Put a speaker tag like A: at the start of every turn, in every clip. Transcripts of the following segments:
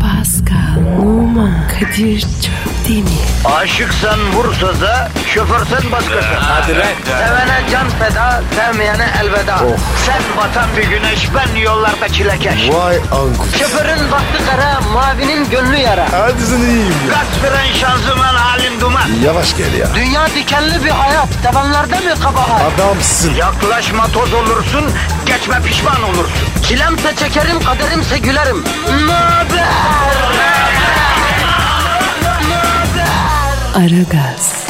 A: Pascal, Oman, Kadir çok değil mi?
B: Aşıksan vursa da şoförsen başkasın. Hadi
C: lan. Oh.
B: Sevene can feda, sevmeyene elveda. Sen batan bir güneş, ben yollarda çilekeş.
C: Vay anku.
B: Şoförün baktı kara, mavinin gönlü yara.
C: Hadi sen iyiyim ya.
B: Kasperen şanzıman halin duman.
C: Yavaş gel ya.
B: Dünya dikenli bir hayat, sevenlerde mi kabahar?
C: Adamsın.
B: Yaklaşma toz olursun, geçme pişman olursun. Çilemse çekerim, kaderimse gülerim. Möber!
A: Aragaz,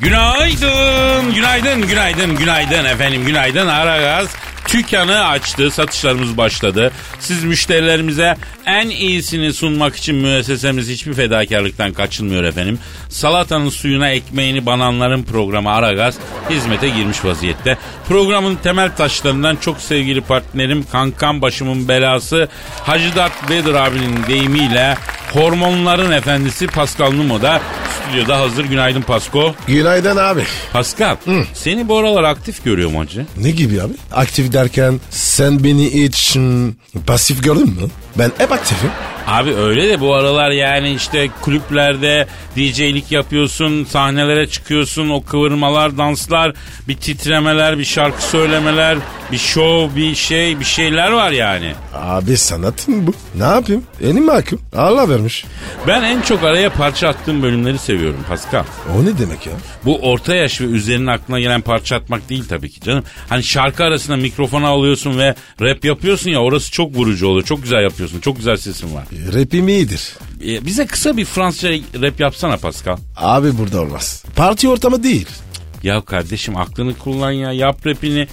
D: Günaydın, günaydın, günaydın, günaydın efendim, günaydın. Aragaz dükkanı açtı, satışlarımız başladı. Siz müşterilerimize en iyisini sunmak için müessesemiz hiçbir fedakarlıktan kaçınmıyor efendim. Salatanın suyuna ekmeğini bananların programı Aragaz hizmete girmiş vaziyette. Programın temel taşlarından çok sevgili partnerim, kankam başımın belası Hacı Dert Vedir abinin deyimiyle hormonların efendisi Pascal Numo da stüdyoda hazır. Günaydın Pasko.
C: Günaydın abi.
D: Pascal, seni bu aralar aktif görüyorum hacı.
C: Ne gibi abi? Aktif derken sen beni hiç hmm, pasif gördün mü? Ben hep aktifim.
D: Abi öyle de bu aralar yani işte kulüplerde DJ'lik yapıyorsun, sahnelere çıkıyorsun, o kıvırmalar, danslar, bir titremeler, bir şarkı söylemeler, bir şov, bir şey, bir şeyler var yani.
C: Abi sanatım bu. Ne yapayım? Elim mahkum. Allah vermiş.
D: Ben en çok araya parça attığım bölümleri seviyorum Pascal.
C: O ne demek ya?
D: Bu orta yaş ve üzerinin aklına gelen parça atmak değil tabii ki canım. Hani şarkı arasında mikrofona alıyorsun ve rap yapıyorsun ya orası çok vurucu oluyor. Çok güzel yapıyorsun, çok güzel sesin var.
C: Rapim iyidir.
D: E, bize kısa bir Fransızca rap yapsana Pascal.
C: Abi burada olmaz. Parti ortamı değil.
D: Ya kardeşim aklını kullan ya yap rapini.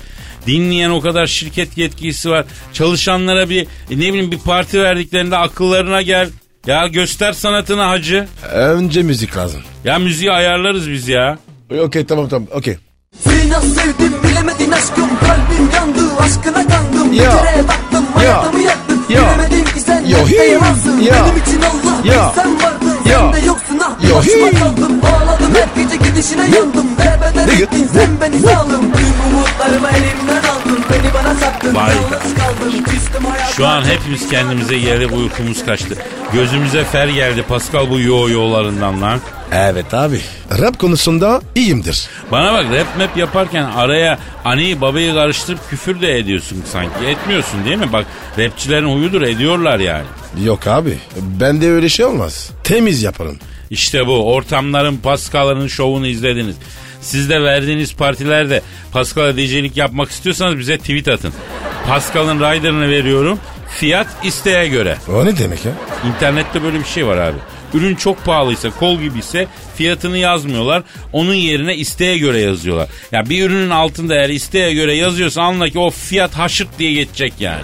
D: Dinleyen o kadar şirket yetkisi var. Çalışanlara bir e, ne bileyim bir parti verdiklerinde akıllarına gel. Ya göster sanatını hacı.
C: Önce müzik lazım.
D: Ya müziği ayarlarız biz ya.
C: Okey tamam tamam okey.
E: Seni nasıl sevdim bilemedin aşkım Kalbim yandı aşkına kandım
C: Ya.
E: Bir kere baktım
C: Ya.
E: hayatımı yaktın
C: Ya.
E: Bilemedim ki sen
C: Yo, hi.
E: yaşayamasın
C: Ya.
E: Benim için Allah
C: Ya.
E: sen vardın
C: Ya.
E: Sen de yoksun ah
C: Yo,
E: Yo. başıma
C: hi.
E: kaldım Ağladım her gece gidişine yandım Derbeder
C: Nigga.
E: ettin sen beni sağlım Tüm umutlarımı elimden aldın Beni bana sattın
D: Vay.
E: Yalnız kaldım küstüm hayatım
D: Şu an hepimiz kendimize gelip uykumuz kaçtı. Gözümüze fer geldi Pascal bu yo yolarından lan.
C: Evet abi. Rap konusunda iyiyimdir.
D: Bana bak rap map yaparken araya aneyi babayı karıştırıp küfür de ediyorsun sanki. Etmiyorsun değil mi? Bak rapçilerin huyudur ediyorlar yani.
C: Yok abi. Bende öyle şey olmaz. Temiz yaparım.
D: İşte bu ortamların Pascal'ın şovunu izlediniz. Siz de verdiğiniz partilerde Pascal'a DJ'lik yapmak istiyorsanız bize tweet atın. Pascal'ın rider'ını veriyorum. Fiyat isteğe göre.
C: O ne demek ya?
D: İnternette böyle bir şey var abi. Ürün çok pahalıysa, kol gibiyse fiyatını yazmıyorlar. Onun yerine isteğe göre yazıyorlar. Ya bir ürünün altında eğer isteğe göre yazıyorsa anla ki o fiyat haşırt diye geçecek yani.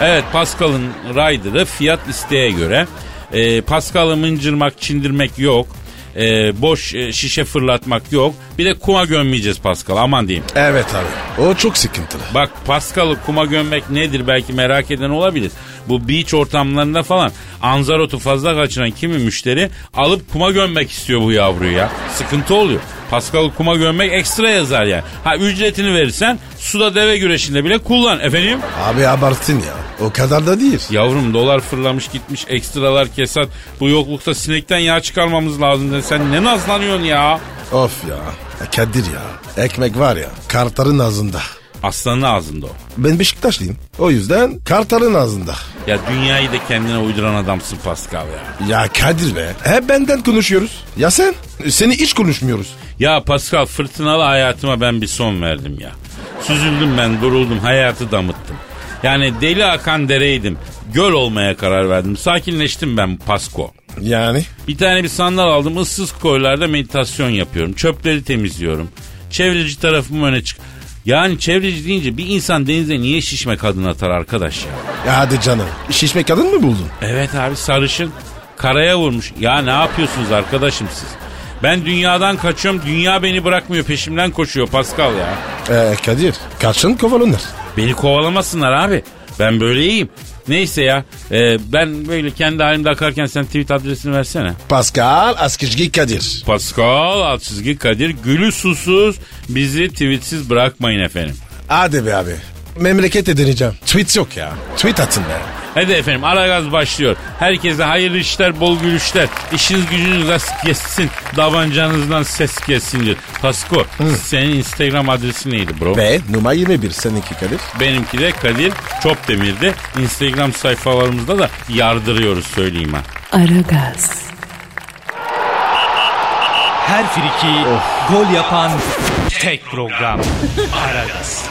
D: Evet Pascal'ın rider'ı fiyat isteğe göre. Ee, Pascal'ı mıncırmak, çindirmek yok. Ee, boş e, şişe fırlatmak yok. Bir de kuma gömmeyeceğiz Pascal aman diyeyim.
C: Evet abi. O çok sıkıntılı.
D: Bak Paskal'ı kuma gömmek nedir belki merak eden olabilir. Bu beach ortamlarında falan anzarotu fazla kaçıran kimi müşteri alıp kuma gömmek istiyor bu yavruyu ya. Sıkıntı oluyor. Paskal'ı kuma gömmek ekstra yazar yani. Ha ücretini verirsen suda deve güreşinde bile kullan efendim.
C: Abi abartın ya. O kadar da değil.
D: Yavrum dolar fırlamış gitmiş ekstralar kesat. Bu yoklukta sinekten yağ çıkarmamız lazım. Sen ne nazlanıyorsun ya?
C: Of ya. Ya Kadir ya. Ekmek var ya. Kartarın ağzında.
D: Aslanın ağzında o.
C: Ben Beşiktaşlıyım. O yüzden kartarın ağzında.
D: Ya dünyayı da kendine uyduran adamsın Paskal ya.
C: Ya Kadir be. Hep benden konuşuyoruz. Ya sen? Seni hiç konuşmuyoruz.
D: Ya Pascal fırtınalı hayatıma ben bir son verdim ya. Süzüldüm ben duruldum hayatı damıttım. Yani deli akan dereydim. Göl olmaya karar verdim. Sakinleştim ben Pasko.
C: Yani?
D: Bir tane bir sandal aldım. Issız koylarda meditasyon yapıyorum. Çöpleri temizliyorum. Çevreci tarafımı öne çık. Yani çevreci deyince bir insan denize niye şişme kadın atar arkadaş ya?
C: Ya hadi canım. Şişme kadın mı buldun?
D: Evet abi sarışın karaya vurmuş. Ya ne yapıyorsunuz arkadaşım siz? Ben dünyadan kaçıyorum. Dünya beni bırakmıyor. Peşimden koşuyor Pascal ya.
C: Ee, Kadir. Kaçın kovalanır.
D: Beni kovalamasınlar abi. Ben böyle iyiyim. Neyse ya. e, ben böyle kendi halimde akarken sen tweet adresini versene.
C: Pascal Askizgi Kadir.
D: Pascal alt çizgi Kadir Gülü susuz bizi tweetsiz bırakmayın efendim.
C: Hadi be abi. Memlekete deneyeceğim. Tweet yok ya. Tweet atın be.
D: Hadi efendim Aragaz başlıyor. Herkese hayırlı işler, bol gülüşler. İşiniz gücünüz rast kessin. Davancanızdan ses kessin diyor. Pasko senin Instagram adresi neydi bro?
C: Ve numara 21 seninki Kadir.
D: Benimki de Kadir Çopdemir'di. Instagram sayfalarımızda da yardırıyoruz söyleyeyim ha.
A: Aragaz,
F: Her friki gol yapan tek program. Aragaz.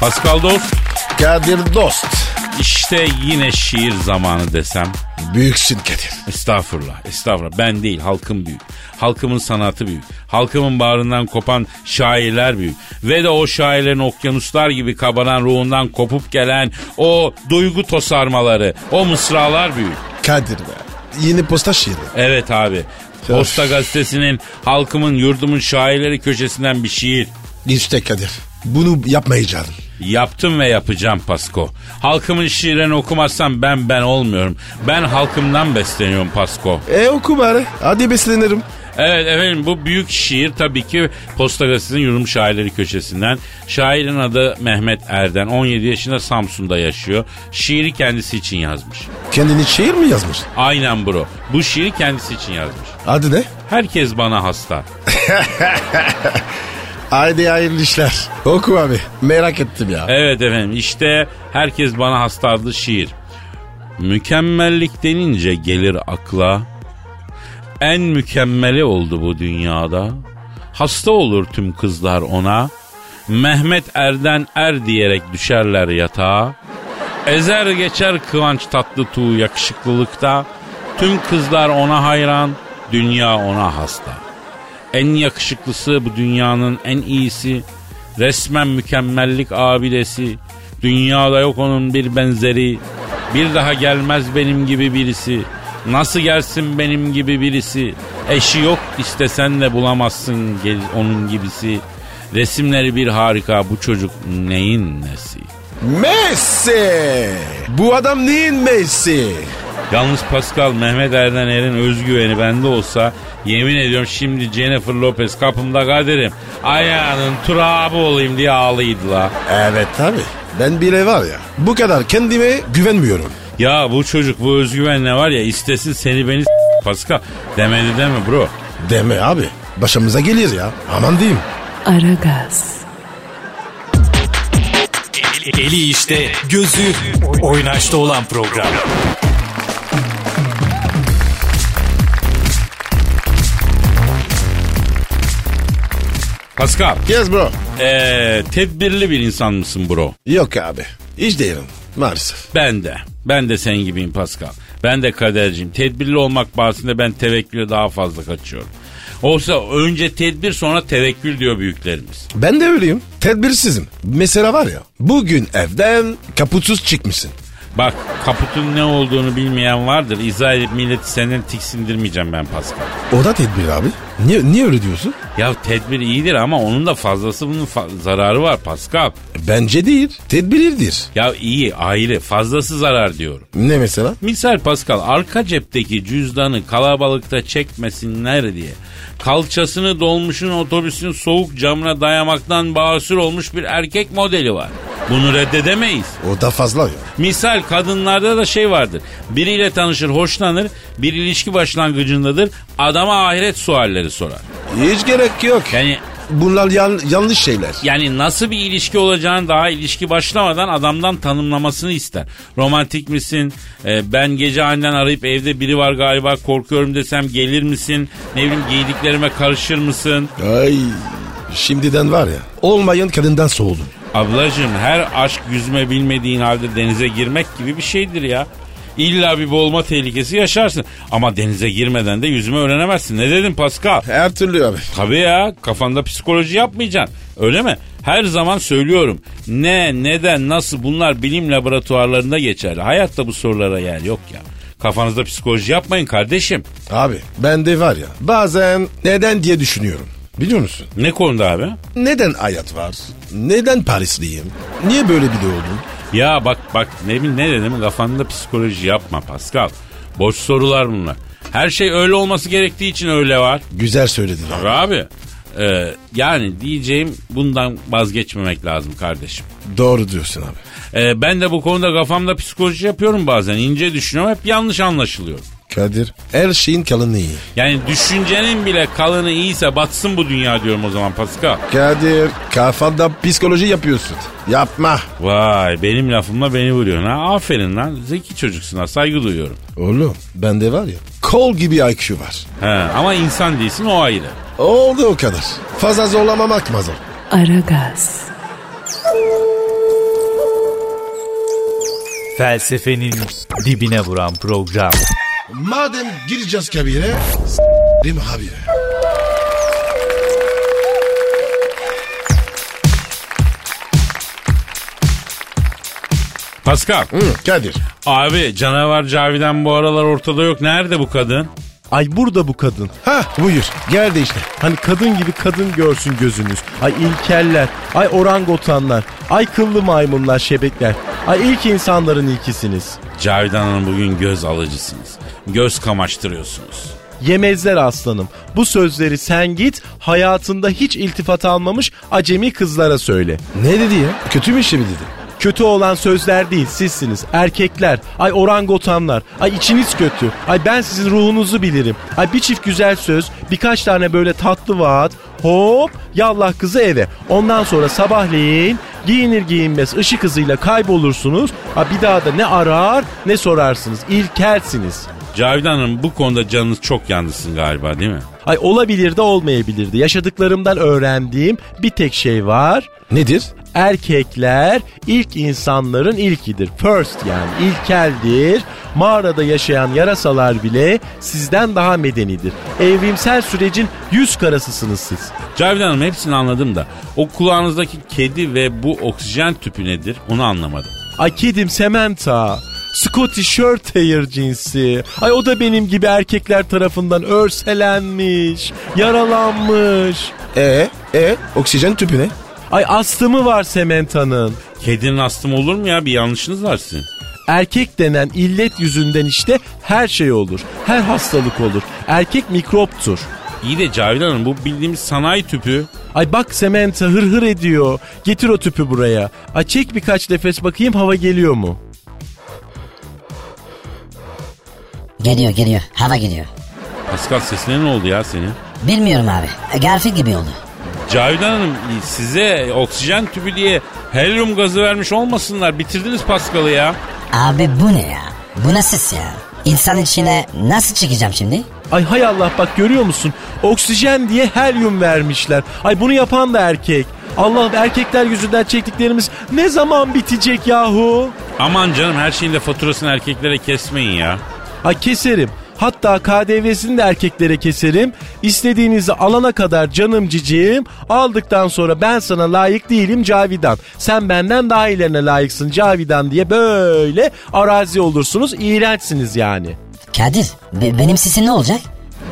D: Pascal dost
C: Kadir dost.
D: işte yine şiir zamanı desem.
C: Büyüksün Kadir.
D: Estağfurullah, estağfurullah. Ben değil, halkım büyük. Halkımın sanatı büyük. Halkımın bağrından kopan şairler büyük. Ve de o şairlerin okyanuslar gibi kabaran ruhundan kopup gelen o duygu tosarmaları, o mısralar büyük.
C: Kadir be. Yeni posta şiiri.
D: Evet abi. Posta gazetesinin halkımın yurdumun şairleri köşesinden bir şiir.
C: İşte Kadir. Bunu yapmayacağım.
D: Yaptım ve yapacağım Pasko. Halkımın şiirini okumazsam ben ben olmuyorum. Ben halkımdan besleniyorum Pasko.
C: E oku bari. Hadi beslenirim.
D: Evet efendim bu büyük şiir tabii ki Posta Gazetesi'nin yorum şairleri köşesinden. Şairin adı Mehmet Erden. 17 yaşında Samsun'da yaşıyor. Şiiri kendisi için yazmış.
C: Kendini şiir mi yazmış?
D: Aynen bro. Bu şiiri kendisi için yazmış.
C: Hadi de.
D: Herkes bana hasta.
C: Haydi hayırlı işler. Oku abi. Merak ettim ya.
D: Evet efendim işte herkes bana hasta adlı şiir. Mükemmellik denince gelir akla. En mükemmeli oldu bu dünyada. Hasta olur tüm kızlar ona. Mehmet Erden er diyerek düşerler yatağa. Ezer geçer kıvanç tatlı tuğ yakışıklılıkta. Tüm kızlar ona hayran, dünya ona hasta. En yakışıklısı bu dünyanın en iyisi. Resmen mükemmellik abidesi. Dünyada yok onun bir benzeri. Bir daha gelmez benim gibi birisi. Nasıl gelsin benim gibi birisi? Eşi yok istesen de bulamazsın gel- onun gibisi. Resimleri bir harika bu çocuk neyin nesi?
C: Messi. Bu adam neyin Messi?
D: Yalnız Pascal Mehmet Erden Er'in özgüveni bende olsa yemin ediyorum şimdi Jennifer Lopez kapımda kaderim ayağının turabı olayım diye ağlıyordu la.
C: Evet abi. Ben bile var ya. Bu kadar kendime güvenmiyorum.
D: Ya bu çocuk bu özgüvenle var ya istesin seni beni s- Pascal demedi deme bro.
C: Deme abi. Başımıza gelir ya. Aman diyeyim.
A: Aragaz,
F: Eli işte, gözü oynaşta olan program.
D: Pascal
C: Yes bro.
D: ee, tedbirli bir insan mısın bro?
C: Yok abi. Hiç değilim. Maalesef.
D: Ben de. Ben de senin gibiyim Pascal. Ben de kaderciyim. Tedbirli olmak bahsinde ben tevekküle daha fazla kaçıyorum. Olsa önce tedbir sonra tevekkül diyor büyüklerimiz.
C: Ben de öyleyim. Tedbirsizim. Mesela var ya. Bugün evden kaputsuz çıkmışsın.
D: Bak kaputun ne olduğunu bilmeyen vardır. İzah edip milleti senden tiksindirmeyeceğim ben Pascal.
C: O da tedbir abi. Niye, niye öyle diyorsun?
D: Ya tedbir iyidir ama onun da fazlası bunun fa- zararı var Pascal.
C: Bence değil. Tedbirlidir.
D: Ya iyi ayrı fazlası zarar diyorum.
C: Ne mesela?
D: Misal Pascal arka cepteki cüzdanı kalabalıkta çekmesinler diye kalçasını dolmuşun otobüsün soğuk camına dayamaktan basur olmuş bir erkek modeli var. Bunu reddedemeyiz.
C: O da fazla ya.
D: Misal kadınlarda da şey vardır. Biriyle tanışır, hoşlanır, bir ilişki başlangıcındadır. Adama ahiret sualleri sorar.
C: Hiç gerek yok.
D: Yani
C: Bunlar yan- yanlış şeyler.
D: yani nasıl bir ilişki olacağını daha ilişki başlamadan adamdan tanımlamasını ister. Romantik misin? Ee, ben gece aniden arayıp evde biri var galiba korkuyorum desem gelir misin? Ne bileyim giydiklerime karışır mısın?
C: Ay şimdiden var ya. Olmayan kadından soğudum.
D: Ablacığım her aşk yüzme bilmediğin halde denize girmek gibi bir şeydir ya. İlla bir boğulma tehlikesi yaşarsın. Ama denize girmeden de yüzme öğrenemezsin. Ne dedim Pascal?
C: Her türlü abi.
D: Tabii ya kafanda psikoloji yapmayacaksın. Öyle mi? Her zaman söylüyorum. Ne, neden, nasıl bunlar bilim laboratuvarlarında geçerli. Hayatta bu sorulara yer yok ya. Kafanızda psikoloji yapmayın kardeşim.
C: Abi ben de var ya bazen neden diye düşünüyorum. Biliyor musun?
D: Ne konuda abi?
C: Neden hayat var? Neden Parisliyim? Niye böyle biri oldum?
D: Ya bak bak ne bileyim ne dedim kafanda psikoloji yapma Pascal. Boş sorular bunlar. Her şey öyle olması gerektiği için öyle var.
C: Güzel söyledin abi.
D: Abi Ee, yani diyeceğim bundan vazgeçmemek lazım kardeşim.
C: Doğru diyorsun abi.
D: Ee, ben de bu konuda kafamda psikoloji yapıyorum bazen. İnce düşünüyorum hep yanlış anlaşılıyor.
C: Kadir her şeyin kalını iyi.
D: Yani düşüncenin bile kalını iyiyse batsın bu dünya diyorum o zaman Pascal.
C: Kadir kafanda psikoloji yapıyorsun. Yapma.
D: Vay benim lafımla beni vuruyorsun ha. Aferin lan zeki çocuksun ha saygı duyuyorum.
C: Oğlum bende var ya kol gibi IQ var.
D: He, ama insan değilsin o ayrı.
C: Oldu o kadar. Fazla zorlamamak lazım.
A: Aragaz,
F: Felsefenin dibine vuran program.
C: Madem gireceğiz kabire s**rim abi.
D: Pascal
C: Hı, Kadir.
D: abi canavar Cavidan bu aralar ortada yok. Nerede bu kadın?
G: Ay burada bu kadın.
C: Ha buyur gel de işte.
G: Hani kadın gibi kadın görsün gözünüz. Ay ilkeller, ay orangotanlar, ay kıllı maymunlar, şebekler. Ay ilk insanların ilkisiniz.
D: Cavidan Hanım bugün göz alıcısınız. Göz kamaştırıyorsunuz.
G: Yemezler aslanım. Bu sözleri sen git hayatında hiç iltifat almamış acemi kızlara söyle.
C: Ne dedi ya? Kötü mü işi mi dedi?
G: Kötü olan sözler değil sizsiniz. Erkekler, ay orangotanlar, ay içiniz kötü, ay ben sizin ruhunuzu bilirim. Ay bir çift güzel söz, birkaç tane böyle tatlı vaat, hop yallah kızı eve. Ondan sonra sabahleyin giyinir giyinmez ışık hızıyla kaybolursunuz. Ay bir daha da ne arar ne sorarsınız, ilkelsiniz.
D: Cavidan Hanım bu konuda canınız çok yalnızsın galiba değil mi?
G: Ay olabilir de olmayabilirdi. Yaşadıklarımdan öğrendiğim bir tek şey var.
C: Nedir?
G: Erkekler ilk insanların ilkidir. First yani ilkeldir. Mağarada yaşayan yarasalar bile sizden daha medenidir. Evrimsel sürecin yüz karasısınız siz.
D: Cavidan Hanım hepsini anladım da o kulağınızdaki kedi ve bu oksijen tüpü nedir onu anlamadım.
G: Ay kedim Samantha. Scottish Shorthair cinsi. Ay o da benim gibi erkekler tarafından örselenmiş, yaralanmış.
C: E e oksijen tüpü ne?
G: Ay astımı var Samantha'nın.
D: Kedinin astımı olur mu ya bir yanlışınız var sizin.
G: Erkek denen illet yüzünden işte her şey olur. Her hastalık olur. Erkek mikroptur.
D: İyi de Cavidan Hanım bu bildiğimiz sanayi tüpü.
G: Ay bak Sementa hırhır ediyor. Getir o tüpü buraya. Ay çek birkaç nefes bakayım hava geliyor mu?
H: Geliyor geliyor. Hava geliyor.
D: Pascal sesine ne oldu ya senin?
H: Bilmiyorum abi. E, Garfield gibi oldu.
D: Cavidan Hanım size oksijen tüpü diye helyum gazı vermiş olmasınlar. Bitirdiniz Pascal'ı ya.
H: Abi bu ne ya? Bu nasıl ses ya? İnsan içine nasıl çıkacağım şimdi?
G: Ay hay Allah bak görüyor musun? Oksijen diye helyum vermişler. Ay bunu yapan da erkek. Allah'ım erkekler yüzünden çektiklerimiz ne zaman bitecek yahu?
D: Aman canım her şeyin de faturasını erkeklere kesmeyin ya.
G: Ay keserim. Hatta KDV'sini de erkeklere keserim. İstediğinizi alana kadar canım cicim. Aldıktan sonra ben sana layık değilim Cavidan. Sen benden daha ilerine layıksın Cavidan diye böyle arazi olursunuz. iğrençsiniz yani.
H: Kadir be- benim sesim ne olacak?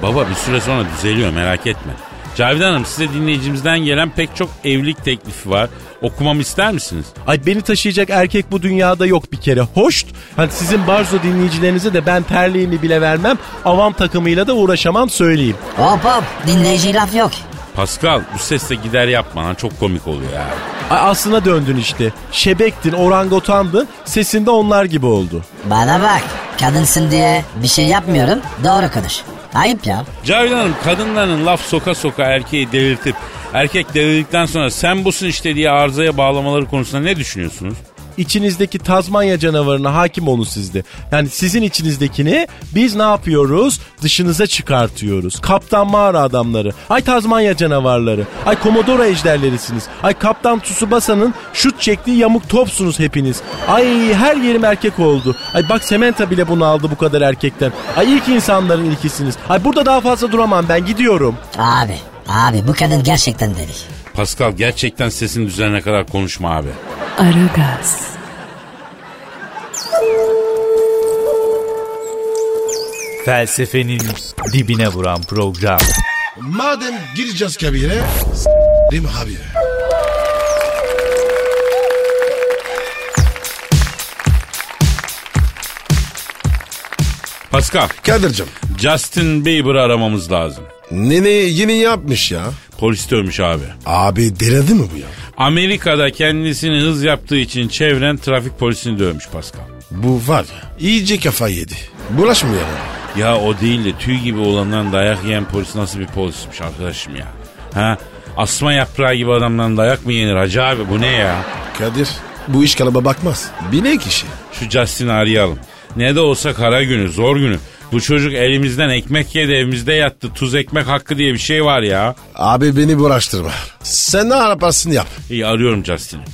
D: Baba bir süre sonra düzeliyor merak etme. Cavidan Hanım size dinleyicimizden gelen pek çok evlilik teklifi var. Okumamı ister misiniz?
G: Ay beni taşıyacak erkek bu dünyada yok bir kere. Hoşt. Hani sizin barzo dinleyicilerinize de ben terliğimi bile vermem. Avam takımıyla da uğraşamam söyleyeyim.
H: Hop hop dinleyici laf yok.
D: Pascal bu sesle gider yapma lan çok komik oluyor ya.
G: Ay aslına döndün işte. Şebektin, orangotandın. Sesinde onlar gibi oldu.
H: Bana bak. Kadınsın diye bir şey yapmıyorum. Doğru konuş. Ayıp ya.
D: Cavidan Hanım kadınların laf soka soka erkeği delirtip erkek delirdikten sonra sen busun işte diye arızaya bağlamaları konusunda ne düşünüyorsunuz?
G: İçinizdeki Tazmanya canavarına hakim olun sizde. Yani sizin içinizdekini biz ne yapıyoruz? Dışınıza çıkartıyoruz. Kaptan mağara adamları. Ay Tazmanya canavarları. Ay Komodoro ejderlerisiniz. Ay Kaptan Tsubasa'nın şut çektiği yamuk topsunuz hepiniz. Ay her yerim erkek oldu. Ay bak Sementa bile bunu aldı bu kadar erkekten. Ay ilk insanların ilkisiniz. Ay burada daha fazla duramam ben gidiyorum.
H: Abi. Abi bu kadın gerçekten deli.
D: Pascal gerçekten sesin düzenine kadar konuşma abi.
A: Aragaz,
F: Felsefenin dibine vuran program.
C: Madem gireceğiz kabire s**rim abi.
D: Pascal,
C: Kadir'cim
D: Justin Bieber'ı aramamız lazım.
C: nene yeni yapmış ya.
D: Polis dövmüş abi.
C: Abi delirdi mi bu ya?
D: Amerika'da kendisini hız yaptığı için çevren trafik polisini dövmüş Pascal.
C: Bu var ya iyice kafa yedi. Bulaşmıyor ya.
D: Ya o değil de tüy gibi olandan dayak yiyen polis nasıl bir polismiş arkadaşım ya. Ha? Asma yaprağı gibi adamdan dayak mı yenir hacı abi bu ne ya?
C: Kadir bu iş kalaba bakmaz. Bine kişi.
D: Şu Justin'i arayalım. Ne de olsa kara günü zor günü. Bu çocuk elimizden ekmek yedi evimizde yattı. Tuz ekmek hakkı diye bir şey var ya.
C: Abi beni bulaştırma. Sen ne yaparsın yap.
D: İyi arıyorum Justin'i.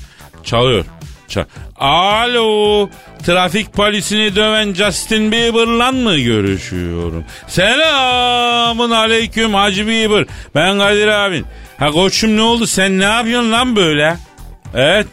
D: Çalıyor. Çal. Alo. Trafik polisini döven Justin Bieber'la mı görüşüyorum? Selamın aleyküm Hacı Bieber. Ben Kadir abin. Ha koçum ne oldu? Sen ne yapıyorsun lan böyle? Evet.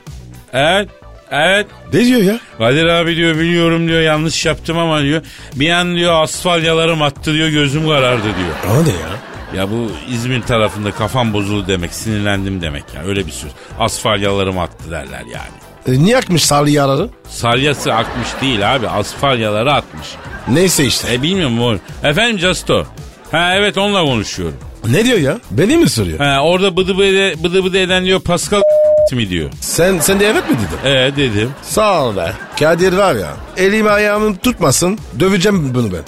D: Evet. Evet.
C: Ne diyor ya?
D: Kadir abi diyor biliyorum diyor yanlış yaptım ama diyor. Bir an diyor asfalyalarım attı diyor gözüm karardı diyor.
C: O ne ya?
D: Ya bu İzmir tarafında kafam bozuldu demek, sinirlendim demek ya. Öyle bir söz. Asfalyalarım attı derler yani.
C: E, niye akmış sarı yaraları?
D: Salyası akmış değil abi, asfalyaları atmış.
C: Neyse işte.
D: E bilmiyorum oğlum. Efendim Justo. Ha evet onunla konuşuyorum.
C: Ne diyor ya? Beni mi soruyor?
D: Ha orada bıdı bıdı, bıdı bıdı eden diyor Pascal mi diyor.
C: Sen sen de evet mi dedin?
D: E dedim.
C: Sağ ol be. Kadir var ya. Elimi ayağımı tutmasın. Döveceğim bunu ben.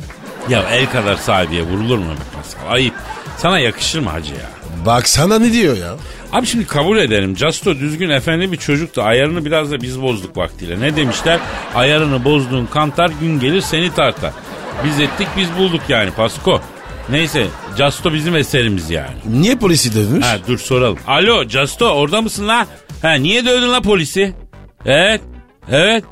D: Ya el kadar sahibiye vurulur mu be Pascal? Ayıp. Sana yakışır mı hacı ya?
C: Baksana ne diyor ya?
D: Abi şimdi kabul edelim. Justo düzgün efendi bir çocuktu. Ayarını biraz da biz bozduk vaktiyle. Ne demişler? Ayarını bozduğun kantar gün gelir seni tartar. Biz ettik biz bulduk yani Pasko. Neyse Justo bizim eserimiz yani.
C: Niye polisi dövmüş?
D: Ha dur soralım. Alo Justo orada mısın la? Ha niye dövdün la polisi? Evet. Evet.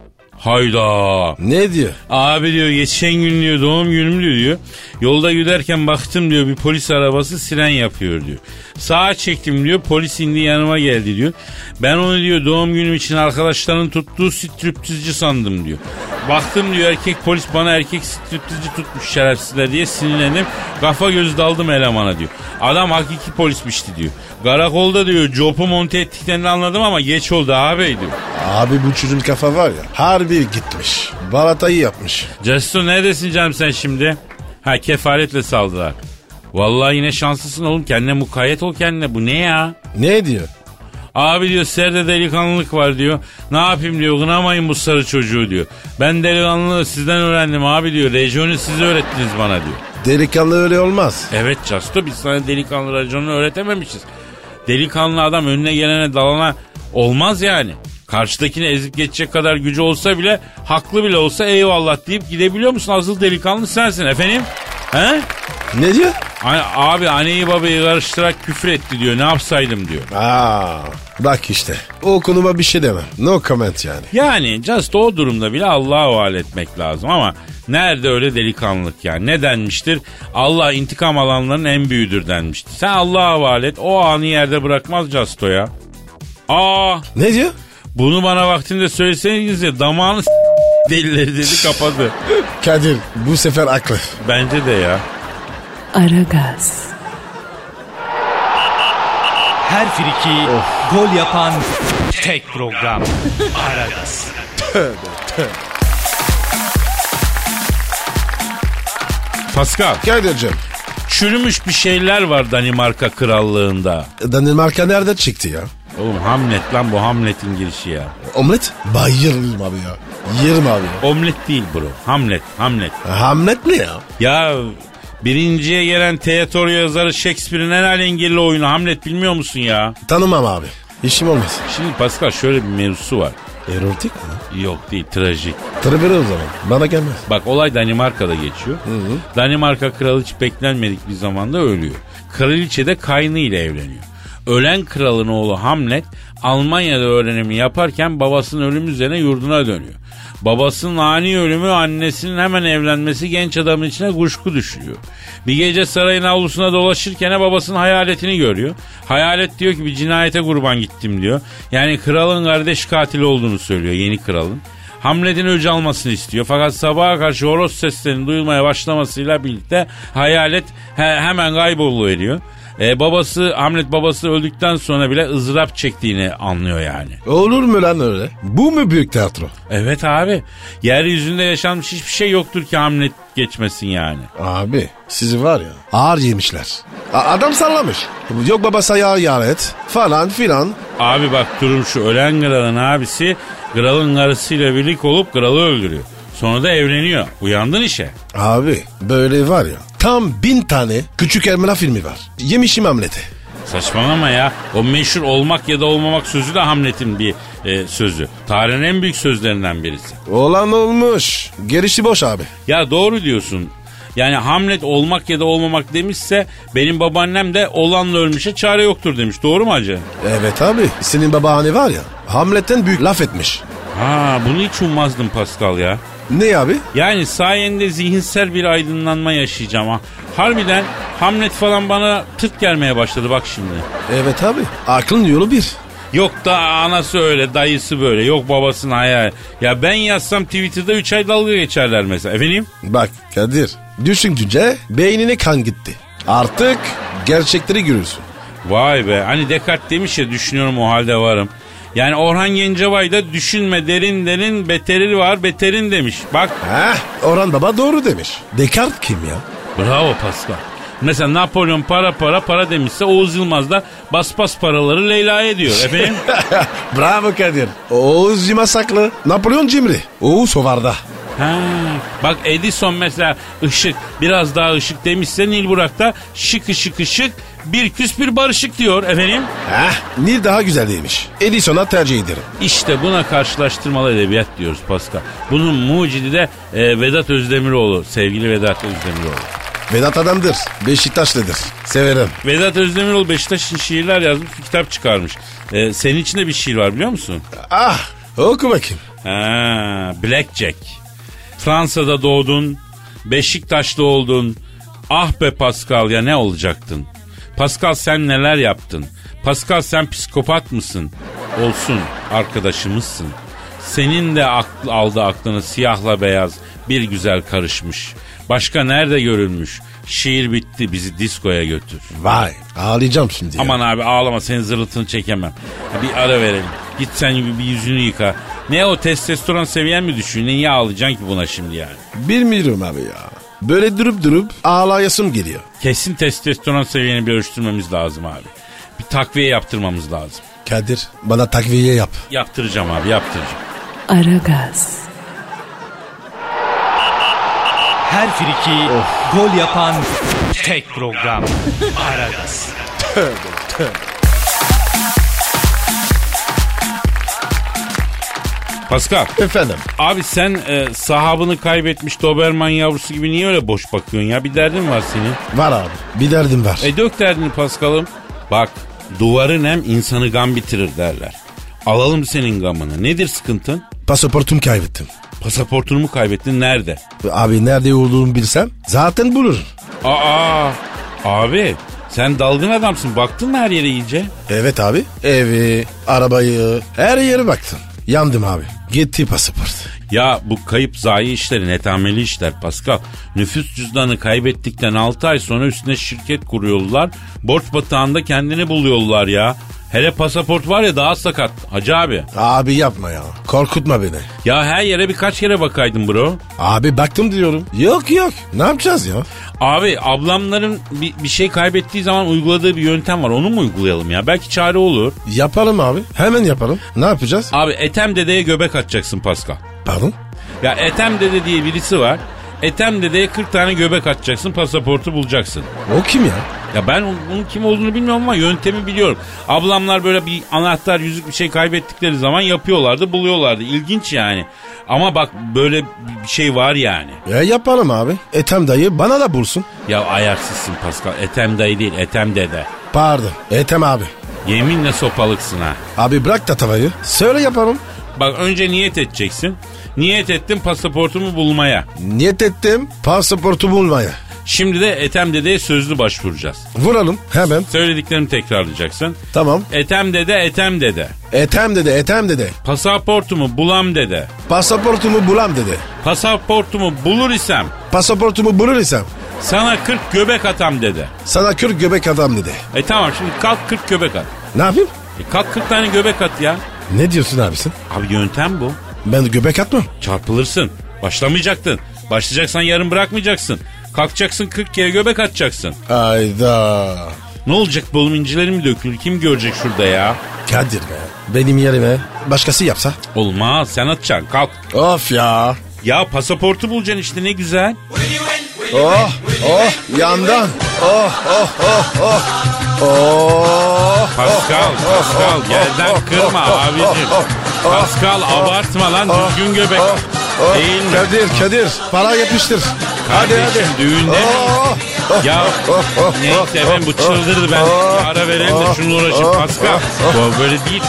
D: Hayda.
C: Ne diyor?
D: Abi diyor geçen gün diyor doğum günüm diyor, diyor. Yolda giderken baktım diyor bir polis arabası siren yapıyor diyor. Sağa çektim diyor polis indi yanıma geldi diyor. Ben onu diyor doğum günüm için arkadaşların tuttuğu striptizci sandım diyor. Baktım diyor erkek polis bana erkek striptizci tutmuş şerefsizler diye sinirlendim. Kafa göz daldım elemana diyor. Adam hakiki polismişti diyor. Karakolda diyor copu monte ettiklerini anladım ama geç oldu ağabey diyor.
C: Abi bu çocuğun kafa var ya. Harbi gitmiş. Balatayı yapmış.
D: Cestu neredesin canım sen şimdi? Ha kefaletle saldılar. Vallahi yine şanslısın oğlum kendine mukayyet ol kendine bu ne ya?
C: Ne diyor?
D: Abi diyor serde delikanlılık var diyor. Ne yapayım diyor kınamayın bu sarı çocuğu diyor. Ben delikanlılığı sizden öğrendim abi diyor. Rejonu siz öğrettiniz bana diyor.
C: Delikanlı öyle olmaz.
D: Evet Casto biz sana delikanlı raconu öğretememişiz. Delikanlı adam önüne gelene dalana olmaz yani. Karşıdakini ezip geçecek kadar gücü olsa bile haklı bile olsa eyvallah deyip gidebiliyor musun? Asıl delikanlı sensin efendim. He?
C: Ne diyor?
D: Ay- Abi anneyi babayı karıştırarak küfür etti diyor ne yapsaydım diyor.
C: Aa, bak işte. O konuma bir şey demem. No comment yani.
D: Yani just o durumda bile Allah'a havale etmek lazım ama nerede öyle delikanlılık yani? Ne denmiştir? Allah intikam alanların en büyüğüdür denmiştir. Sen Allah'a havale et o anı yerde bırakmaz just o ya. Aa
C: Ne diyor?
D: bunu bana vaktinde söyleseniz ya damağını s- delileri dedi kapadı.
C: Kadir bu sefer aklı.
D: Bence de ya.
A: Aragaz,
F: Her friki gol yapan tek program. Aragaz.
D: Pascal
C: Kadir'cim
D: çürümüş bir şeyler var Danimarka krallığında.
C: Danimarka nerede çıktı ya?
D: Oğlum Hamlet lan bu Hamlet'in girişi ya.
C: Omlet? Bayılırım abi ya. Yerim abi ya.
D: Omlet değil bro. Hamlet, Hamlet.
C: Hamlet mi ya?
D: Ya birinciye gelen tiyatro yazarı Shakespeare'in en alengirli oyunu Hamlet bilmiyor musun ya?
C: Tanımam abi. İşim olmaz.
D: Şimdi Pascal şöyle bir mevzusu var.
C: Erotik mi?
D: Yok değil trajik.
C: Tırıbırı o zaman. Bana gelmez.
D: Bak olay Danimarka'da geçiyor. Danimarka kralı hiç beklenmedik bir zamanda ölüyor. Kraliçe de kaynı ile evleniyor. Ölen kralın oğlu Hamlet Almanya'da öğrenimi yaparken babasının ölümü üzerine yurduna dönüyor. Babasının ani ölümü annesinin hemen evlenmesi genç adamın içine kuşku düşüyor. Bir gece sarayın avlusuna dolaşırken babasının hayaletini görüyor. Hayalet diyor ki bir cinayete kurban gittim diyor. Yani kralın kardeş katili olduğunu söylüyor yeni kralın. Hamlet'in öcü almasını istiyor. Fakat sabaha karşı horoz seslerinin duyulmaya başlamasıyla birlikte hayalet he- hemen kayboluyor. E, babası Hamlet babası öldükten sonra bile ızdırap çektiğini anlıyor yani.
C: Olur mu lan öyle? Bu mu büyük tiyatro?
D: Evet abi. Yeryüzünde yaşanmış hiçbir şey yoktur ki Hamlet geçmesin yani.
C: Abi sizi var ya ağır yemişler. A- adam sallamış. Yok baba sayağı yar et falan filan.
D: Abi bak durum şu ölen kralın abisi kralın karısıyla birlik olup kralı öldürüyor. Sonra da evleniyor. Uyandın işe.
C: Abi böyle var ya tam bin tane küçük Ermena filmi var. Yemişim Hamlet'i.
D: Saçmalama ya. O meşhur olmak ya da olmamak sözü de Hamlet'in bir e, sözü. Tarihin en büyük sözlerinden birisi.
C: Olan olmuş. Gerisi boş abi.
D: Ya doğru diyorsun. Yani Hamlet olmak ya da olmamak demişse benim babaannem de olanla ölmüşe çare yoktur demiş. Doğru mu hacı?
C: Evet abi senin babaanne var ya Hamlet'ten büyük laf etmiş.
D: Ha bunu hiç ummazdım Pascal ya.
C: Ne abi?
D: Yani sayende zihinsel bir aydınlanma yaşayacağım ha. Harbiden Hamlet falan bana tırt gelmeye başladı bak şimdi.
C: Evet abi aklın yolu bir.
D: Yok da anası öyle, dayısı böyle, yok babasının hayal. Ya ben yazsam Twitter'da 3 ay dalga geçerler mesela. Efendim?
C: Bak Kadir düşündüce beynine kan gitti. Artık gerçekleri görürsün.
D: Vay be. Hani Descartes demiş ya düşünüyorum o halde varım. Yani Orhan Gencebay da düşünme derin derin beteri var beterin demiş. Bak
C: Heh, Orhan Baba doğru demiş. Descartes kim ya?
D: bravo Pascal. Mesela Napolyon para para para demişse Oğuz Yılmaz da bas bas paraları Leyla'ya diyor efendim.
C: Bravo Kadir. Oğuz Cimasaklı. Napolyon Cimri. Oğuz Hovarda.
D: Ha, bak Edison mesela ışık biraz daha ışık demişse Nil Burak da şık ışık ışık bir küs bir barışık diyor efendim.
C: Heh, Nil daha güzel demiş. Edison'a tercih ederim.
D: İşte buna karşılaştırmalı edebiyat diyoruz Pascal. Bunun mucidi de e, Vedat Özdemiroğlu. Sevgili Vedat Özdemiroğlu.
C: Vedat adamdır. Beşiktaşlıdır. Severim.
D: Vedat Özdemiroğlu Beşiktaş'ın şiirler yazmış bir kitap çıkarmış. E, senin içinde bir şiir var biliyor musun?
C: Ah oku bakayım.
D: Ha, Blackjack. Fransa'da doğdun, Beşiktaşlı oldun. Ah be Pascal ya ne olacaktın? Pascal sen neler yaptın? Pascal sen psikopat mısın? Olsun arkadaşımızsın. Senin de akl, aldı aklını siyahla beyaz bir güzel karışmış. Başka nerede görülmüş? Şiir bitti bizi diskoya götür.
C: Vay ağlayacağım şimdi ya.
D: Aman abi ağlama senin zırıltını çekemem. Bir ara verelim. Git sen bir yüzünü yıka. Ne o testosteron seviyen mi düşüyor? Niye ağlayacaksın ki buna şimdi yani?
C: Bilmiyorum abi ya. Böyle durup durup ağlayasım geliyor.
D: Kesin testosteron seviyeni bir ölçtürmemiz lazım abi. Bir takviye yaptırmamız lazım.
C: Kadir bana takviye yap.
D: Yaptıracağım abi yaptıracağım.
A: Aragaz,
F: Her friki gol yapan tek program. Aragaz.
D: Pascal
C: Efendim.
D: abi sen e, sahabını kaybetmiş Doberman yavrusu gibi niye öyle boş bakıyorsun ya? Bir derdin var senin.
C: Var abi. Bir derdim var.
D: E dök derdini Paskal'ım. Bak duvarın hem insanı gam bitirir derler. Alalım senin gamını. Nedir sıkıntın?
C: Pasaportumu kaybettim.
D: Pasaportunu mu kaybettin? Nerede?
C: Abi nerede olduğumu bilsem zaten bulurum.
D: Aa, abi sen dalgın adamsın. Baktın mı her yere iyice?
C: Evet abi. Evi, arabayı, her yere baktım. Yandım abi. Gitti pasaport.
D: Ya bu kayıp zayi işleri netameli işler Pascal. Nüfus cüzdanı kaybettikten 6 ay sonra üstüne şirket kuruyorlar. Borç batağında kendini buluyorlar ya. Hele pasaport var ya daha sakat. Hacı abi.
C: Abi yapma ya. Korkutma beni.
D: Ya her yere birkaç kere bakaydın bro.
C: Abi baktım diyorum. Yok yok. Ne yapacağız ya?
D: Abi ablamların bir, bir şey kaybettiği zaman uyguladığı bir yöntem var. Onu mu uygulayalım ya? Belki çare olur.
C: Yapalım abi. Hemen yapalım. Ne yapacağız?
D: Abi Etem dedeye göbek atacaksın Pascal.
C: Pardon.
D: Ya Etem dede diye birisi var. Etem dedeye 40 tane göbek atacaksın pasaportu bulacaksın.
C: O kim ya?
D: Ya ben bunun kim olduğunu bilmiyorum ama yöntemi biliyorum. Ablamlar böyle bir anahtar yüzük bir şey kaybettikleri zaman yapıyorlardı buluyorlardı. İlginç yani. Ama bak böyle bir şey var yani.
C: Ya E, yapalım abi. Ethem dayı bana da bulsun.
D: Ya ayarsızsın Pascal. Etem dayı değil Etem dede.
C: Pardon. Ethem abi.
D: Yeminle sopalıksın ha.
C: Abi bırak da tavayı. Söyle yapalım.
D: Bak önce niyet edeceksin. Niyet ettim pasaportumu bulmaya.
C: Niyet ettim pasaportu bulmaya.
D: Şimdi de Etem dedeye sözlü başvuracağız.
C: Vuralım hemen.
D: Söylediklerimi tekrarlayacaksın.
C: Tamam.
D: Etem dede, Etem dede.
C: Ethem dedi, Ethem dedi.
D: Pasaportumu bulam dede.
C: Pasaportumu bulam dedi.
D: Pasaportumu bulur isem
C: Pasaportumu bulur isem
D: Sana 40 göbek atam dedi.
C: Sana kör göbek adam dedi.
D: E tamam şimdi kalk 40 göbek at.
C: Ne yapayım?
D: E kalk 40 tane göbek at ya.
C: Ne diyorsun abisin?
D: Abi yöntem bu.
C: Ben göbek atmam.
D: Çarpılırsın. Başlamayacaktın. Başlayacaksan yarın bırakmayacaksın. Kalkacaksın 40 kere göbek atacaksın.
C: Ayda.
D: Ne olacak bu oğlum incileri mi dökülür? Kim görecek şurada ya?
C: Kadir be. Benim yerime başkası yapsa.
D: Olmaz sen atacaksın kalk.
C: Of ya.
D: Ya pasaportu bulacaksın işte ne güzel.
C: Oh oh yandan. Oh oh oh oh. Oh.
D: Pascal, Pascal yerden kırma abicim. Pascal abartma lan düzgün göbek.
C: Oh, oh.
D: Değil mi?
C: Kadir, Kadir. Para yapıştır. hadi hadi.
D: Kardeşim, düğünde mi?
C: Oh, oh,
D: Ya
C: oh, oh, oh,
D: neyse ben bu
C: oh,
D: çıldırdı ben
C: oh,
D: bir ara verelim de
C: oh,
D: şunu uğraşayım
C: oh,
D: Pascal.
C: oh,
D: Bu böyle değil.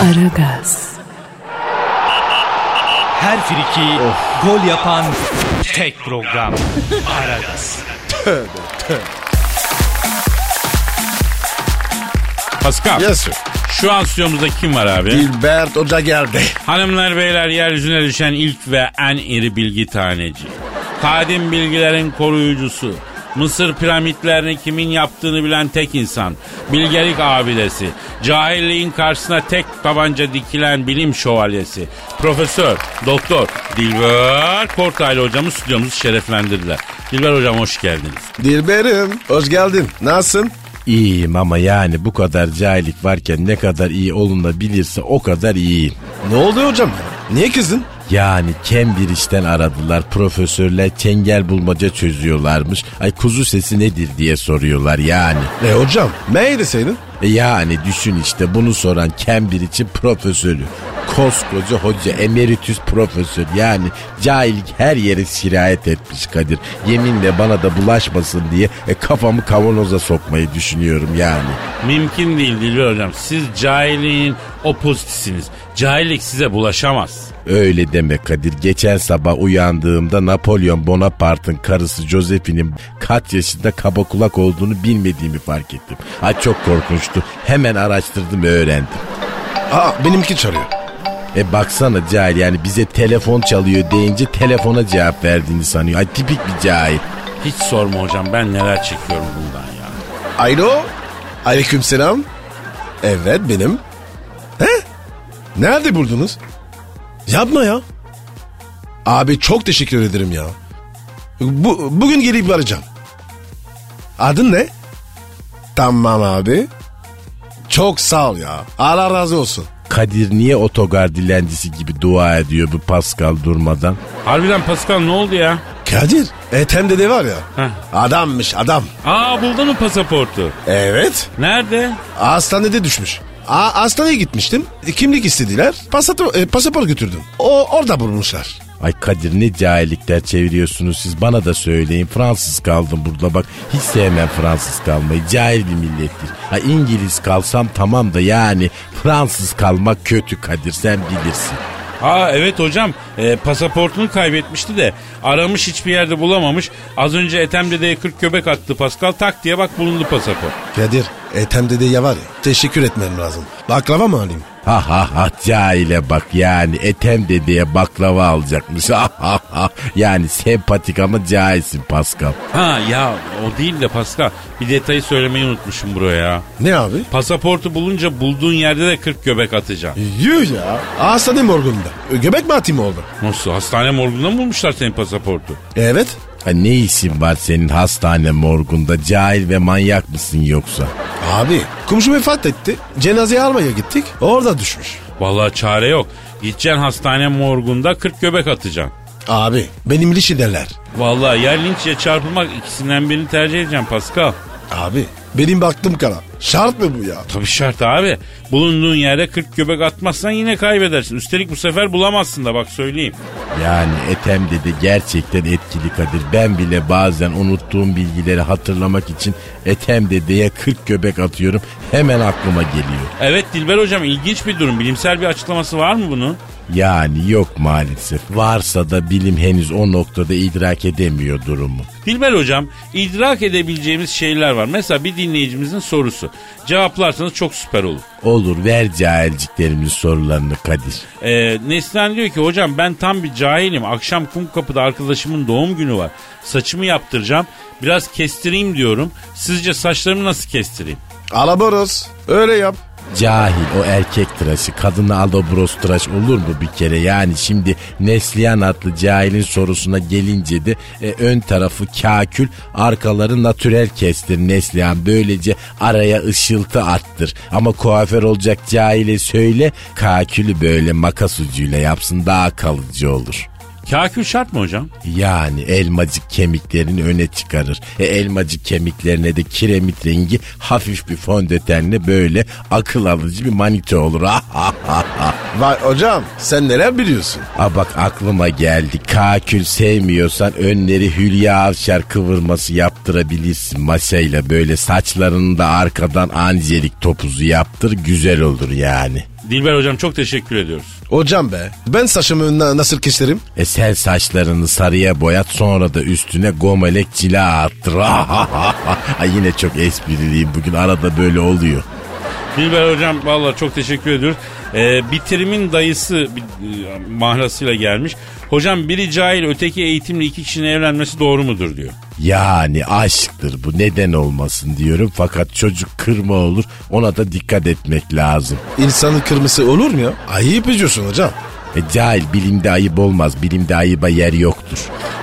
A: Aragaz,
F: Her friki gol yapan tek program. Aragaz.
D: Pascal
C: Yes sir.
D: şu an stüdyomuzda kim var abi?
C: Dilbert Hoca geldi.
D: Hanımlar beyler yeryüzüne düşen ilk ve en iri bilgi taneci. Kadim bilgilerin koruyucusu. Mısır piramitlerini kimin yaptığını bilen tek insan. Bilgelik abidesi. Cahilliğin karşısına tek tabanca dikilen bilim şövalyesi. Profesör, doktor Dilber Kortaylı hocamız stüdyomuzu şereflendirdiler. Dilber hocam hoş geldiniz.
C: Dilberim hoş geldin. Nasılsın?
G: İyiyim ama yani bu kadar cahillik varken ne kadar iyi olunabilirse o kadar iyiyim.
C: Ne oldu hocam? Niye kızdın?
G: Yani Cambridge'den aradılar profesörler çengel bulmaca çözüyorlarmış. Ay kuzu sesi nedir diye soruyorlar yani.
C: E hocam mail deseydin.
G: E Yani düşün işte bunu soran Cambridge'in profesörü. Koskoca hoca emeritus profesör yani cahillik her yere sirayet etmiş Kadir. Yeminle bana da bulaşmasın diye e, kafamı kavanoza sokmayı düşünüyorum yani.
D: Mümkün değil Dilber hocam. Siz cahilliğin opozitisiniz. Cahillik size bulaşamaz.
G: Öyle deme Kadir. Geçen sabah uyandığımda Napolyon Bonaparte'ın karısı Josephine'in kaç yaşında kaba kulak olduğunu bilmediğimi fark ettim. Ay çok korkunçtu. Hemen araştırdım ve öğrendim.
C: Aa benimki çağırıyor.
G: E baksana cahil yani bize telefon çalıyor deyince telefona cevap verdiğini sanıyor. Ay tipik bir cahil.
D: Hiç sorma hocam ben neler çekiyorum bundan ya.
C: Alo. Aleyküm selam. Evet benim. He? Nerede buldunuz? Yapma ya. Abi çok teşekkür ederim ya. Bu, bugün gelip arayacağım. Adın ne? Tamam abi. Çok sağ ol ya. Allah razı olsun.
G: Kadir niye otogar dilencisi gibi dua ediyor bu Pascal durmadan?
D: Harbiden Pascal ne oldu ya?
C: Kadir. Ethem dede var ya.
D: Heh.
C: Adammış adam.
D: Aa buldun mu pasaportu?
C: Evet.
D: Nerede?
C: Hastanede düşmüş. A hastaneye gitmiştim. E, Kimlik istediler. Pasaport, pasaport götürdüm. O orada bulmuşlar.
G: Ay Kadir ne cahillikler çeviriyorsunuz siz bana da söyleyin. Fransız kaldım burada bak hiç sevmem Fransız kalmayı cahil bir millettir. Ha İngiliz kalsam tamam da yani Fransız kalmak kötü Kadir sen bilirsin.
D: Aa evet hocam e, pasaportunu kaybetmişti de aramış hiçbir yerde bulamamış. Az önce Ethem dedeye 40 göbek attı Pascal tak diye bak bulundu pasaport.
C: Kadir, e, Ethem dedeye var ya. Teşekkür etmem lazım. Baklava mı alayım?
G: Ha ha ha cahile bak yani Ethem dedeye baklava alacakmış. Ha ha ha yani sempatik ama cahilsin Pascal.
D: Ha ya o değil de Pascal bir detayı söylemeyi unutmuşum buraya ya.
C: Ne abi?
D: Pasaportu bulunca bulduğun yerde de 40 göbek atacaksın.
C: Yuh ya. Hastane morgunda. E, Göbek mi atayım oldu?
D: Nasıl hastane morgunda mı bulmuşlar senin pasaportu?
C: Evet.
G: Ha, ne işin var senin hastane morgunda cahil ve manyak mısın yoksa?
C: Abi, komşu vefat etti. Cenazeyi almaya gittik. Orada düşmüş.
D: Vallahi çare yok. Gideceksin hastane morgunda 40 göbek atacaksın.
C: Abi, benim lişi derler.
D: Vallahi yer linç ya çarpılmak ikisinden birini tercih edeceğim Pascal.
C: Abi, benim baktım kara. Şart mı bu ya?
D: Tabii şart abi. Bulunduğun yerde 40 göbek atmazsan yine kaybedersin. Üstelik bu sefer bulamazsın da bak söyleyeyim.
G: Yani Ethem dedi gerçekten etkili Kadir. Ben bile bazen unuttuğum bilgileri hatırlamak için Ethem dedeye 40 göbek atıyorum. Hemen aklıma geliyor.
D: Evet Dilber hocam ilginç bir durum. Bilimsel bir açıklaması var mı bunun?
G: Yani yok maalesef. Varsa da bilim henüz o noktada idrak edemiyor durumu.
D: Dilber hocam idrak edebileceğimiz şeyler var. Mesela bir dinleyicimizin sorusu. Cevaplarsanız çok süper olur.
G: Olur ver cahilciklerimizin sorularını Kadir.
D: Ee, Neslihan diyor ki hocam ben tam bir cahilim. Akşam Kumkapı'da arkadaşımın doğum günü var. Saçımı yaptıracağım. Biraz kestireyim diyorum. Sizce saçlarımı nasıl kestireyim?
C: Alaboros. Öyle yap.
G: Cahil o erkek tıraşı kadına aldobros tıraş olur mu bir kere? Yani şimdi Neslihan adlı cahilin sorusuna gelince de e, ön tarafı kakül arkaları natürel kestir Neslihan. Böylece araya ışıltı attır. Ama kuaför olacak cahile söyle kakülü böyle makas ucuyla yapsın daha kalıcı olur.
D: Kakül şart mı hocam?
G: Yani elmacık kemiklerini öne çıkarır. E, elmacık kemiklerine de kiremit rengi hafif bir fondötenle böyle akıl alıcı bir manita olur.
C: Vay hocam sen neler biliyorsun?
G: Ha bak aklıma geldi. Kakül sevmiyorsan önleri Hülya Avşar kıvırması yaptırabilirsin. Maşayla böyle saçlarını da arkadan anjelik topuzu yaptır güzel olur yani.
D: Dilber hocam çok teşekkür ediyoruz.
C: Hocam be ben saçımı na- nasıl keserim?
G: E sen saçlarını sarıya boyat sonra da üstüne gomelek cila attır. Ay yine çok espriliyim bugün arada böyle oluyor.
D: Dilber hocam vallahi çok teşekkür ediyoruz. Ee, bitirimin dayısı bir, e, mahlasıyla gelmiş. Hocam biri cahil öteki eğitimli iki kişinin evlenmesi doğru mudur diyor.
G: Yani aşktır bu neden olmasın diyorum fakat çocuk kırma olur ona da dikkat etmek lazım.
C: İnsanın kırmızı olur mu ya? Ayıp ediyorsun hocam.
G: E cahil bilimde ayıp olmaz bilimde ayıba yer yoktur.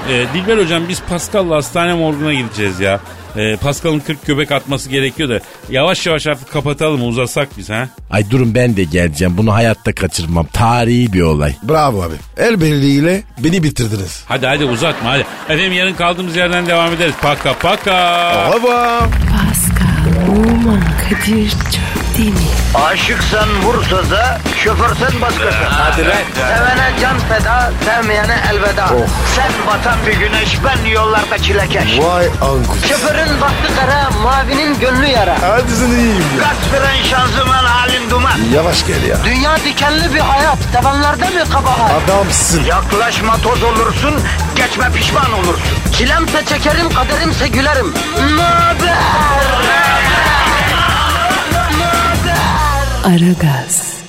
D: Ee, Dilber hocam biz Pascal'la hastane morguna gideceğiz ya. Ee, Pascal'ın 40 göbek atması gerekiyor da yavaş yavaş artık kapatalım uzasak biz ha.
G: Ay durun ben de geleceğim bunu hayatta kaçırmam tarihi bir olay.
C: Bravo abi. El birliğiyle beni bitirdiniz.
D: Hadi hadi uzatma hadi. Efendim yarın kaldığımız yerden devam ederiz. Paka paka.
C: Bravo.
A: Pascal, Oman, Kadir çok değil mi?
B: Aşıksan vursa da, şoförsen başkasın. Hadi Sevene can feda, sevmeyene elveda. Sen batan bir güneş, ben yollarda çilekeş.
C: Vay anku.
B: Şoförün baktı kara, mavinin gönlü yara.
C: Hadi sen iyiyim ya.
B: Kasperen şanzıman halin duman.
C: Yavaş gel ya.
B: Dünya dikenli bir hayat, sevenlerde mi kabahar?
C: Adamsın.
B: Yaklaşma toz olursun, geçme pişman olursun. Çilemse çekerim, kaderimse gülerim. Möber!
A: Aragaz.